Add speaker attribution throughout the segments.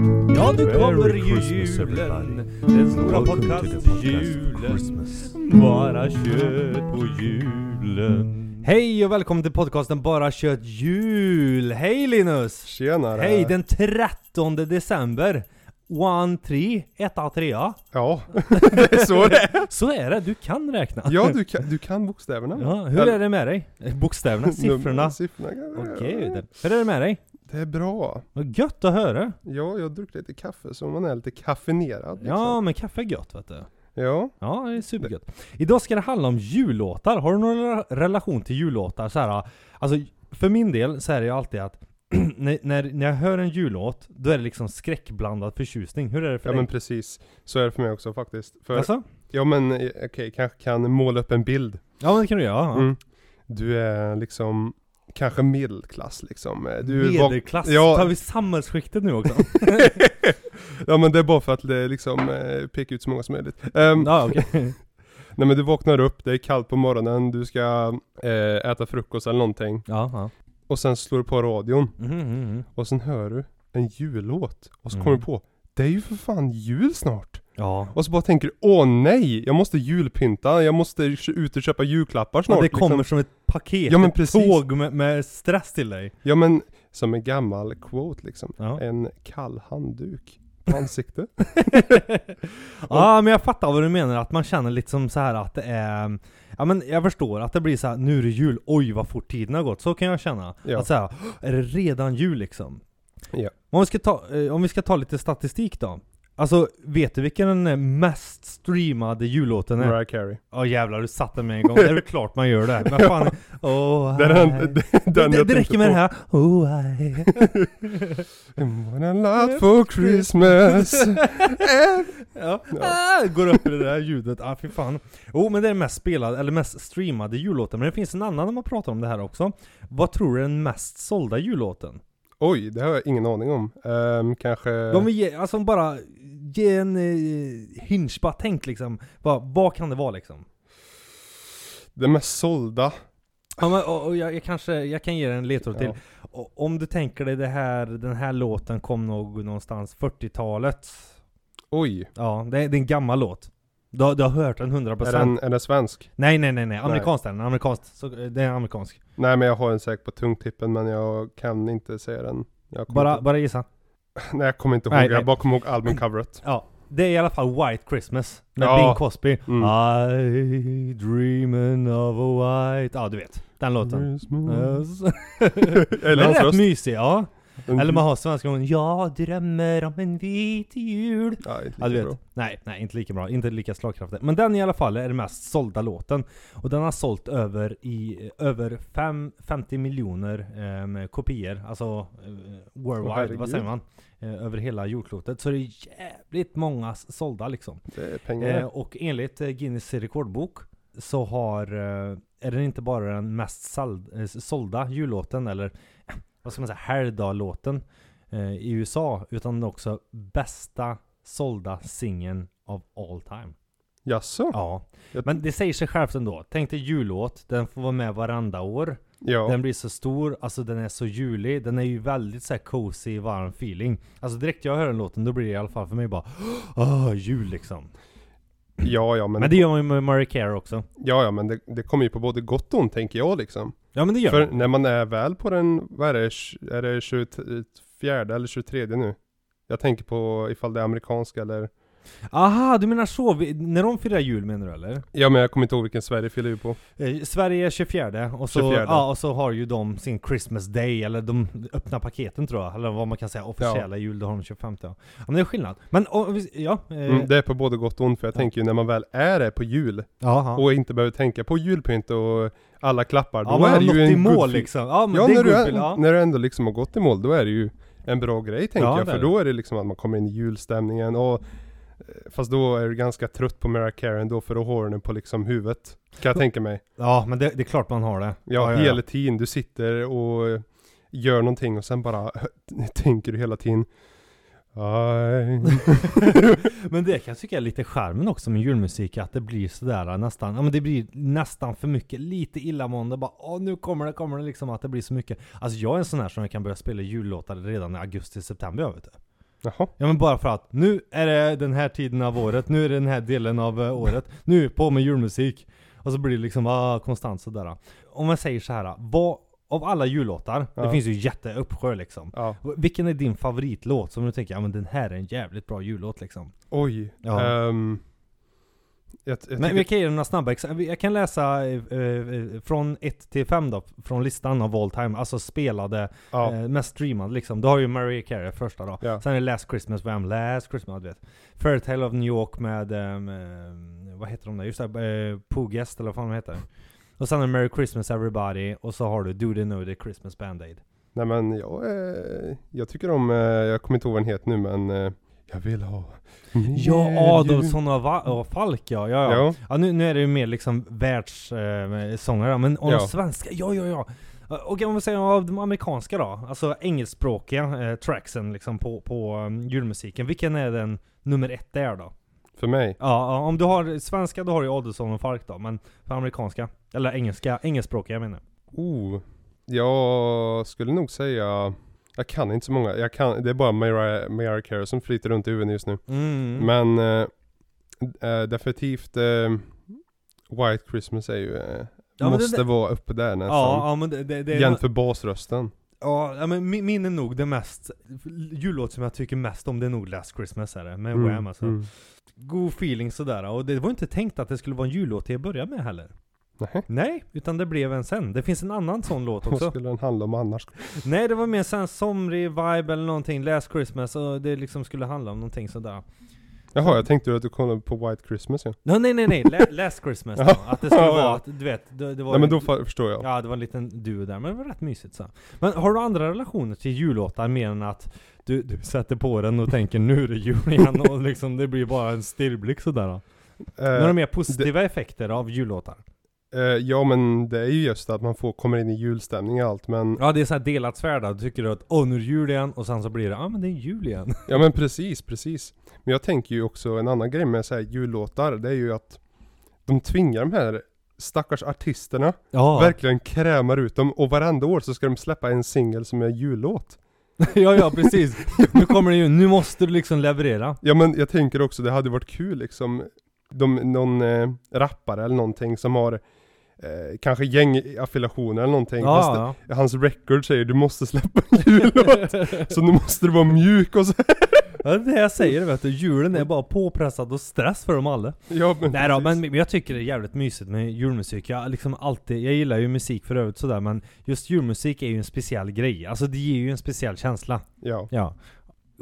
Speaker 1: Ja, nu
Speaker 2: Merry
Speaker 1: kommer ju
Speaker 2: Christmas, everybody.
Speaker 1: julen. Den stora
Speaker 2: Welcome to the podcast,
Speaker 1: podcast-julen.
Speaker 2: Christmas.
Speaker 1: Bara kött på julen.
Speaker 3: Hej och välkommen till podcasten Bara Kött Jul! Hej Linus!
Speaker 4: Tjenare!
Speaker 3: Hej den 13 december! 1, 3, 1, 3
Speaker 4: Ja, det är så det är.
Speaker 3: Så är det, du kan räkna!
Speaker 4: Ja, du kan, du kan bokstäverna.
Speaker 3: Ja, hur
Speaker 4: Eller-
Speaker 3: är det med dig? Bokstäverna, siffrorna?
Speaker 4: Nummer- Siffrorna kan-
Speaker 3: Okej, det- hur är det med dig?
Speaker 4: Det är bra.
Speaker 3: Vad gött att höra!
Speaker 4: Ja, jag har druckit lite kaffe så man är lite kaffenerad.
Speaker 3: Ja,
Speaker 4: Liksom.
Speaker 3: men kaffe är gött vet du.
Speaker 4: Ja.
Speaker 3: Ja, det är supergött. Idag ska det handla om jullåtar. Har du någon re- relation till jullåtar? Så här, alltså, för min del så är det ju alltid att när, när, när jag hör en jullåt, då är det liksom skräckblandad förtjusning. Hur är det för
Speaker 4: ja,
Speaker 3: dig?
Speaker 4: men precis. Så är det för mig också faktiskt. För,
Speaker 3: alltså?
Speaker 4: Ja men eh, okej, kanske kan måla upp en bild.
Speaker 3: Ja men det kan du göra. ja.
Speaker 4: Mm. Du är liksom, kanske medelklass liksom. Eh, Du är vak-
Speaker 3: Medelklass.
Speaker 4: Ja.
Speaker 3: Tar vi samhällsskiktet nu också?
Speaker 4: ja men det är bara för att det liksom eh, peka ut så många som möjligt. Ehm,
Speaker 3: ja, okej.
Speaker 4: Nej men du vaknar upp, det är kallt på morgonen, du ska eh, äta frukost eller någonting.
Speaker 3: Ja, ja.
Speaker 4: Och sen slår du på radion
Speaker 3: Mm, mm, mm.
Speaker 4: och sen hör du en jullåt. Och så
Speaker 3: Mm.
Speaker 4: kommer du på, det är ju för fan jul snart.
Speaker 3: ja.
Speaker 4: Och så bara tänker du, åh nej, jag måste julpynta, jag måste ut och köpa julklappar snart.
Speaker 3: Och det kommer
Speaker 4: liksom.
Speaker 3: som ett paket,
Speaker 4: Ja, men
Speaker 3: ett
Speaker 4: precis.
Speaker 3: tåg med, med stress till dig.
Speaker 4: Ja men, som en gammal quote liksom.
Speaker 3: Ja.
Speaker 4: En kall handduk på ansikte.
Speaker 3: Ja men jag fattar vad du menar, att man känner lite som så här att det är Ja men jag förstår att det blir så här, nu är det jul, oj vad fort tiden har gått, så kan jag känna.
Speaker 4: Ja.
Speaker 3: Att så här, är det redan jul liksom?
Speaker 4: Ja.
Speaker 3: Om vi, ska ta, eh, om vi ska ta lite statistik då. Alltså, vet du vilken den eh, mest streamade jullåten är?
Speaker 4: Mariah Carey.
Speaker 3: Ja jävlar, du satte mig en gång. Det är väl klart man gör det. Men fan, oh,
Speaker 4: Det är den,
Speaker 3: I-
Speaker 4: den, den
Speaker 3: det,
Speaker 4: jag
Speaker 3: det räcker
Speaker 4: tänkte
Speaker 3: med
Speaker 4: på.
Speaker 3: det här. Oh, I-
Speaker 4: What a lot for Christmas.
Speaker 3: Ja.
Speaker 4: Ja.
Speaker 3: Ah, går upp i det där ljudet, ah fy fan. Jo men det är den mest spelade, eller mest streamade jullåten, men det finns en annan när man pratar om det här också. Vad tror du är den mest sålda jullåten?
Speaker 4: Oj, det har jag ingen aning om. Ehm, kanske...
Speaker 3: De vill ge, alltså bara ge en eh, hinch, bara tänk liksom, bara, vad kan det vara liksom?
Speaker 4: Den mest sålda.
Speaker 3: Ja, men, och, och jag, jag kanske, jag kan ge dig en ledtråd till.
Speaker 4: Ja.
Speaker 3: Och, om du tänker dig det här, den här låten kom nog någonstans 40-talet.
Speaker 4: Oj,
Speaker 3: Ja, det är, det är en gammal låt. Du, har- du har hört den 100%.
Speaker 4: är den, är den svensk?
Speaker 3: Nej nej nej nej, amerikansk är den, amerikansk. Så, eh, det är amerikansk.
Speaker 4: Nej men jag har en säkert på tungtippen men jag kan inte säga den. Jag kommer
Speaker 3: Bara,
Speaker 4: inte,
Speaker 3: bara gissa.
Speaker 4: nej jag kommer inte ihåg,
Speaker 3: Nej, nej.
Speaker 4: jag bara kommer ihåg albumcoveret.
Speaker 3: Ja, det är i alla fall White Christmas med
Speaker 4: Ja.
Speaker 3: Bing Crosby.
Speaker 4: Mm.
Speaker 3: I dreamin' of a white... Ja du vet, den låten.
Speaker 4: Christmas.
Speaker 3: Den
Speaker 4: Mm. Eller
Speaker 3: är
Speaker 4: hans
Speaker 3: rätt
Speaker 4: röst.
Speaker 3: mysig, ja.
Speaker 4: Mm.
Speaker 3: Eller man har svenska gången Jag drömmer om en vit jul.
Speaker 4: Ja, inte
Speaker 3: Ja du
Speaker 4: lika
Speaker 3: vet.
Speaker 4: bra.
Speaker 3: Nej, nej inte lika bra. Inte lika slagkraftig. Men den i alla fall är den mest sålda låten. Och den har sålt över, i, över fem, 50 miljoner eh, kopior. Alltså eh,
Speaker 4: Åh,
Speaker 3: worldwide,
Speaker 4: herregud.
Speaker 3: vad säger man? Eh, över hela jordklotet. Så det är jävligt många s- sålda liksom.
Speaker 4: Det är pengar.
Speaker 3: Eh, och enligt eh, Guinness rekordbok så har, eh, är den inte bara den mest sald, eh, sålda jullåten eller eh, vad ska man säga, helgdaglåten eh, i USA utan också bästa sålda singeln of all time.
Speaker 4: Jaså?
Speaker 3: Ja,
Speaker 4: Jag-
Speaker 3: men det säger sig självt ändå. Tänk dig jullåt, den får vara med varenda år.
Speaker 4: Ja.
Speaker 3: Den blir så stor, alltså den är så julig. Den är ju väldigt så här cozy, varm feeling. Alltså direkt jag hör den låten då blir det i alla fall för mig bara Åh, jul liksom.
Speaker 4: ja, ja men,
Speaker 3: Men det gör man ju med Mariah Carey också.
Speaker 4: ja, ja, men det, det kommer ju på både gott och ont tänker jag liksom.
Speaker 3: Ja men det gör
Speaker 4: För
Speaker 3: man.
Speaker 4: när man är väl på den, vad är det, tj- är det 24 eller 23 nu? Jag tänker på ifall det är amerikanska eller
Speaker 3: Aha, du menar så? Vi, när de firar jul menar du eller?
Speaker 4: Ja men jag kommer inte ihåg vilken Sverige fyller ju på.
Speaker 3: Eh, Sverige är 24 och så,
Speaker 4: 24.
Speaker 3: Ja, och så har ju de sin Christmas Day, eller de öppna paketen tror jag, eller vad man kan säga, officiella jul, då har de 25 ja. ja men det är skillnad. Men om vi- ja, eh,
Speaker 4: Mm, det är på både gott och ont för jag
Speaker 3: Ja.
Speaker 4: tänker ju när man väl är där på jul
Speaker 3: jaha.
Speaker 4: och inte behöver tänka på julpynt och alla klappar,
Speaker 3: ja,
Speaker 4: då
Speaker 3: man
Speaker 4: är
Speaker 3: har
Speaker 4: det
Speaker 3: nått
Speaker 4: ju
Speaker 3: i
Speaker 4: en good
Speaker 3: mål
Speaker 4: feel.
Speaker 3: liksom. Ja men
Speaker 4: Ja,
Speaker 3: det är
Speaker 4: när, du
Speaker 3: good
Speaker 4: är,
Speaker 3: feel, ja.
Speaker 4: när du ändå liksom har gått i mål, då är det ju en bra grej tänker
Speaker 3: Ja,
Speaker 4: jag.
Speaker 3: det
Speaker 4: För
Speaker 3: är
Speaker 4: då är det liksom att man kommer in i julstämningen och eh, Fast då är du ganska trött på Mariah Carey ändå för då har den på liksom huvudet. Kan jag tänka mig.
Speaker 3: Ja men det, det är klart man har det.
Speaker 4: Ja, hela tiden. Du sitter och eh, gör någonting och sen bara tänker du hela tiden "Aj."
Speaker 3: Men det kan jag tycka är lite charmen också med julmusik, att det blir sådär nästan, ja men det blir nästan för mycket, lite illamående bara åh nu kommer det, kommer det liksom att det blir så mycket. Alltså jag är en sån här som jag kan börja spela jullåtar redan i augusti, september jag vet du.
Speaker 4: Jaha.
Speaker 3: Ja men bara för att nu är det den här tiden av året, nu är det den här delen av eh, året, nu på med julmusik. Och så blir det liksom ah, konstant sådär. Om man säger så här, vad, av alla jullåtar, det
Speaker 4: Ja.
Speaker 3: finns ju jätteuppsjö liksom.
Speaker 4: Ja.
Speaker 3: Vilken är din favoritlåt som du tänker, ja men den här är en jävligt bra jullåt liksom?
Speaker 4: Oj.
Speaker 3: Ja.
Speaker 4: Ehm, jag, jag
Speaker 3: Men
Speaker 4: tycker-
Speaker 3: vi kan ge några snabba exempel. Jag kan läsa eh, eh, från 1 till 5 då, från listan av all time, alltså spelade,
Speaker 4: ja.
Speaker 3: eh, mest streamade liksom. Du har ju Mariah Carey första då.
Speaker 4: Ja.
Speaker 3: Sen är det Last Christmas med I'm Last Christmas, du vet. Fairytale of New York med, ehm, eh, vad heter de där? Just det, uh, Pooh Guest eller vad fan de heter. Och sen är det Merry Christmas Everybody, och så har du Do They Know The Christmas Band-Aid.
Speaker 4: Nej men jag, eh, jag tycker om, eh, jag kommer inte ihåg vad den heter nu men eh, Jag vill ha mer
Speaker 3: Ja,
Speaker 4: jul.
Speaker 3: Adolfsson och, Va- och Falk ja, ja, ja.
Speaker 4: Ja,
Speaker 3: Ja nu, nu är det ju mer liksom världssångare, eh, sångare, men om
Speaker 4: Ja.
Speaker 3: de svenska, ja ja ja! Eh, Okej om vi säger av de amerikanska då, alltså engelskspråkiga eh, tracksen liksom på, på um, julmusiken, vilken är den nummer ett där då?
Speaker 4: för mig.
Speaker 3: Ja, ja, om du har svenska då har du Adelsson och Falk då, men för amerikanska, eller engelska, engelskspråkiga jag menar
Speaker 4: Oh, jag skulle nog säga Jag kan inte så många, jag kan, det är bara Mariah Mariah Carey som flyter runt i huvudet just nu.
Speaker 3: mm.
Speaker 4: Men eh, eh, definitivt eh, White Christmas är ju, eh,
Speaker 3: Ja, men
Speaker 4: måste
Speaker 3: det-
Speaker 4: vara uppe där nästan.
Speaker 3: Ja, ja men det, det, det är
Speaker 4: Jämför basrösten.
Speaker 3: Ja, ja, men min, min är nog det mest, jullåt som jag tycker mest om det är nog Last Christmas är det, med Wham alltså
Speaker 4: mm.
Speaker 3: god feeling sådär. Och det var inte tänkt att det skulle vara en jullåt till att börja med heller.
Speaker 4: Nej,
Speaker 3: Nej, utan det blev en sen. Det finns en annan sån låt
Speaker 4: vad
Speaker 3: också.
Speaker 4: skulle den handla om annars?
Speaker 3: Nej, det var mer sån somrig vibe eller någonting. Last Christmas och det liksom skulle handla om någonting sådär.
Speaker 4: Jaha, jag tänkte att du kollade på White Christmas ja.
Speaker 3: No, nej, nej, nej. La- last Christmas då. Att det skulle
Speaker 4: Ja, ja.
Speaker 3: vara att, du vet. Det, det var
Speaker 4: Nej men
Speaker 3: ju-
Speaker 4: då fa- förstår jag.
Speaker 3: Ja, det var en liten duo där, men det var rätt mysigt så. Men har du andra relationer till jullåtar mer än att du, du sätter på den och tänker nu är det jul igen och liksom det blir bara en stirrblick sådär då?
Speaker 4: Eh,
Speaker 3: Några mer positiva effekter av jullåtar?
Speaker 4: Eh, ja men det är ju just att man får, kommer in i julstämning och allt men
Speaker 3: Ja det är så här delat svärd då. Du tycker att åh nu är det jul igen och sen så blir det ja ah, men det är jul igen.
Speaker 4: Ja men precis, precis. Men jag tänker ju också en annan grej med så här jullåtar, det är ju att de tvingar de här stackars artisterna,
Speaker 3: Ja,
Speaker 4: verkligen krämar ut dem och varenda år så ska de släppa en singel som är jullåt.
Speaker 3: ja, ja precis. Nu kommer det ju, nu måste du liksom leverera.
Speaker 4: Ja men jag tänker också det hade varit kul liksom, de, någon eh, rappare eller någonting som har eh, kanske gängaffiliationer eller någonting. fast
Speaker 3: Ja,
Speaker 4: det- hans record säger du måste släppa en jullåt. så nu måste du vara mjuk och så.
Speaker 3: ja, det är det jag säger vet du. Julen är bara påpressad och stress för dem alla.
Speaker 4: Ja men
Speaker 3: Nej då,
Speaker 4: precis.
Speaker 3: men men jag tycker det är jävligt mysigt med julmusik. Jag, liksom alltid, jag gillar ju musik för övrigt sådär men just julmusik är ju en speciell grej. Alltså det ger ju en speciell känsla.
Speaker 4: Ja.
Speaker 3: Ja.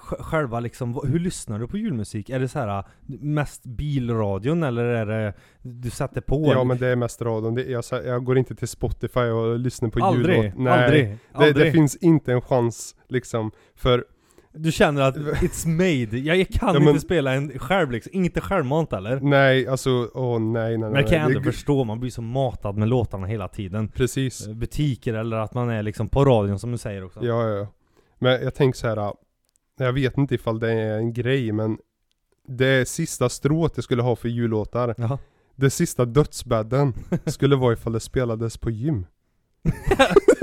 Speaker 3: Sj- Själva liksom, vad- hur lyssnar du på julmusik? Är det så här äh, mest bilradion eller är det du sätter på?
Speaker 4: Ja men det är mest radion. Det, jag, sa- jag går inte till Spotify och lyssnar på
Speaker 3: aldrig,
Speaker 4: ljudlåt. Nej,
Speaker 3: aldrig,
Speaker 4: Det,
Speaker 3: aldrig.
Speaker 4: det finns inte en chans liksom. För,
Speaker 3: Du känner att it's made, jag, jag kan
Speaker 4: Ja, men-
Speaker 3: inte spela en skärm liksom, inte självmant eller?
Speaker 4: nej alltså, åh nej nej nej.
Speaker 3: Men det kan jag
Speaker 4: nej.
Speaker 3: ändå förstå, man blir så matad med låtarna hela tiden.
Speaker 4: Precis.
Speaker 3: Eh, Butiker eller att man är liksom på radion som du säger också.
Speaker 4: Ja, ja, ja. Men jag tänker så här. ah, Jag vet inte ifall det är en grej men det sista strået jag skulle ha för jullåtar,
Speaker 3: Jaha.
Speaker 4: det sista dödsbädden skulle vara ifall det spelades på gym.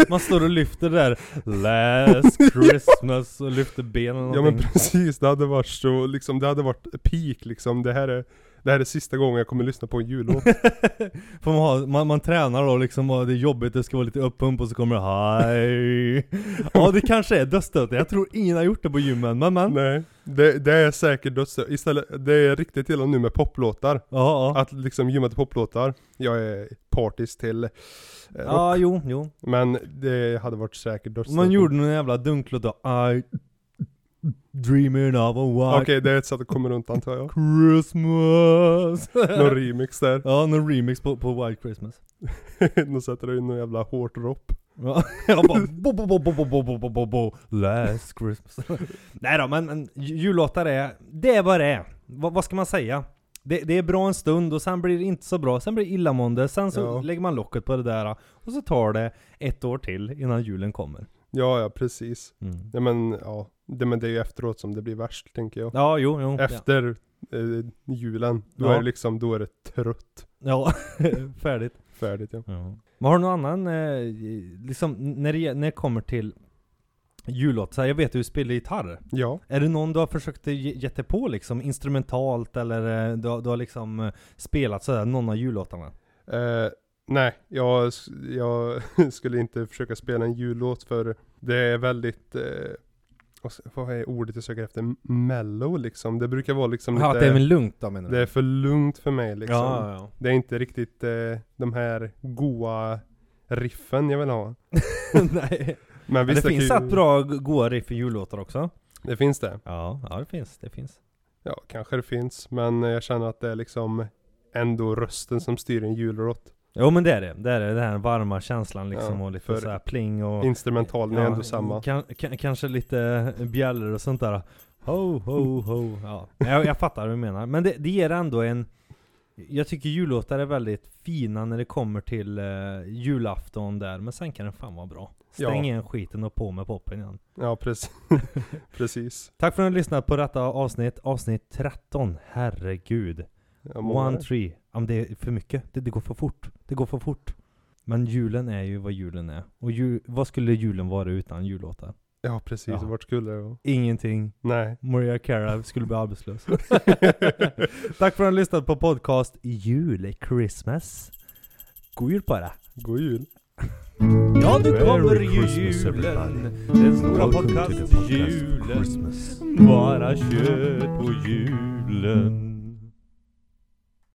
Speaker 3: Man står och lyfter det där Last Christmas och lyfter benen och
Speaker 4: Ja men
Speaker 3: någonting.
Speaker 4: precis, det hade varit så liksom, det hade varit peak liksom. Det här är, det här är sista gången jag kommer lyssna på en jullåt.
Speaker 3: Får man, ha, man, man tränar då liksom, och det är jobbigt, det ska vara lite uppump och så kommer det hej. Ja det kanske är dödsstöten, jag tror ingen har gjort det på gymmen, men men. Ja,
Speaker 4: Nej, det, det är säkert dödsdö- Istället, det är riktigt illa nu med poplåtar.
Speaker 3: ja.
Speaker 4: Att liksom gymma till poplåtar. Jag är partisk till eh, rock.
Speaker 3: Ja, jo, jo.
Speaker 4: Men det hade varit säkert dödsdö.
Speaker 3: Typ. Man gjorde någon jävla dunklåt då, I dreaming of a
Speaker 4: Okej,
Speaker 3: white
Speaker 4: det är ett sätt att komma runt antar jag.
Speaker 3: Christmas.
Speaker 4: Någon remix där.
Speaker 3: ja, någon remix på, på White Christmas.
Speaker 4: Nu sätter du in någon jävla hårt rop.
Speaker 3: Ja, jag bara bo, bo, bo, bo, bo, bo, bo, bo, bo, bo, last Christmas. Nej då, men, men ju- jullåtar är, det är vad det är. Vad- vad ska man säga? Det, det är bra en stund och sen blir det inte så bra, sen blir det illamående, sen så
Speaker 4: Ja.
Speaker 3: lägger man locket på det där och så tar det ett år till innan julen kommer.
Speaker 4: Ja, ja precis.
Speaker 3: Mm.
Speaker 4: Ja men ja, det, men det är ju efteråt som det blir värst tänker jag.
Speaker 3: Ja, jo, jo. Ja.
Speaker 4: Efter eh, julen, då
Speaker 3: Ja.
Speaker 4: är det liksom, då är det trött.
Speaker 3: ja, färdigt.
Speaker 4: Färdigt ja.
Speaker 3: Men har du någon annan, eh, liksom när det, när det kommer till jullåt. Så här, jag vet du spelar gitarr.
Speaker 4: Ja.
Speaker 3: Är det någon du har försökt ge ge dig på liksom instrumentalt eller eh, du har, du har liksom eh, spelat sådär någon av jullåtarna?
Speaker 4: Eh, nej, jag, s- jag skulle inte försöka spela en jullåt för det är väldigt, eh, vad s- vad är ordet jag söker efter? M- Mellow liksom. Det brukar vara liksom
Speaker 3: Ja, att
Speaker 4: lite,
Speaker 3: det är väl lugnt då menar du?
Speaker 4: det är för lugnt för mig liksom.
Speaker 3: ja, ja, ja.
Speaker 4: Det är inte riktigt eh, de här goa riffen jag vill ha.
Speaker 3: Nej.
Speaker 4: Men
Speaker 3: Men
Speaker 4: visst,
Speaker 3: det
Speaker 4: jag
Speaker 3: finns
Speaker 4: kan ju-
Speaker 3: ett bra g- goa riff i jullåtar också.
Speaker 4: Det finns det.
Speaker 3: Ja, ja det finns, det finns.
Speaker 4: Ja, kanske det finns. Men eh, jag känner att det är liksom ändå rösten som styr en julrott.
Speaker 3: Jo men det är det, det är det. Den här varma känslan liksom
Speaker 4: Ja,
Speaker 3: och lite
Speaker 4: för
Speaker 3: såhär pling och...
Speaker 4: Instrumentalen är
Speaker 3: ja,
Speaker 4: ändå samma.
Speaker 3: Kan, kan, kanske lite bjällror och sånt där. Ho, ho, ho. Ja. Men Jag, jag fattar vad du menar. Men det, det ger ändå en... Jag tycker jullåtar är väldigt fina när det kommer till eh, julafton där, men sen kan den fan vara bra. Stäng igen skiten och på med poppen igen.
Speaker 4: Ja, precis. precis.
Speaker 3: Tack för att ni har lyssnat på detta avsnitt, avsnitt 13. Herregud.
Speaker 4: Ja, många
Speaker 3: One
Speaker 4: där.
Speaker 3: tree. Ja, men det är för mycket. Det, det går för fort. Det går för fort. Men julen är ju vad julen är. Och ju, vad skulle julen vara utan jullåtar?
Speaker 4: ja, precis.
Speaker 3: Ja.
Speaker 4: Vart skulle det vara?
Speaker 3: Ingenting.
Speaker 4: Nej.
Speaker 3: Maria Cara skulle bli arbetslös. Tack för att ni har lyssnat på podcast Jul Christmas. God jul på er!
Speaker 4: God jul.
Speaker 3: Ja, nu kommer
Speaker 1: Merry
Speaker 3: ju
Speaker 1: Christmas,
Speaker 3: julen.
Speaker 1: everybody.
Speaker 3: Den stora
Speaker 1: Welcome to the
Speaker 3: podcast
Speaker 1: podcast
Speaker 3: julen.
Speaker 1: Christmas.
Speaker 3: Bara
Speaker 1: Bara kött på julen.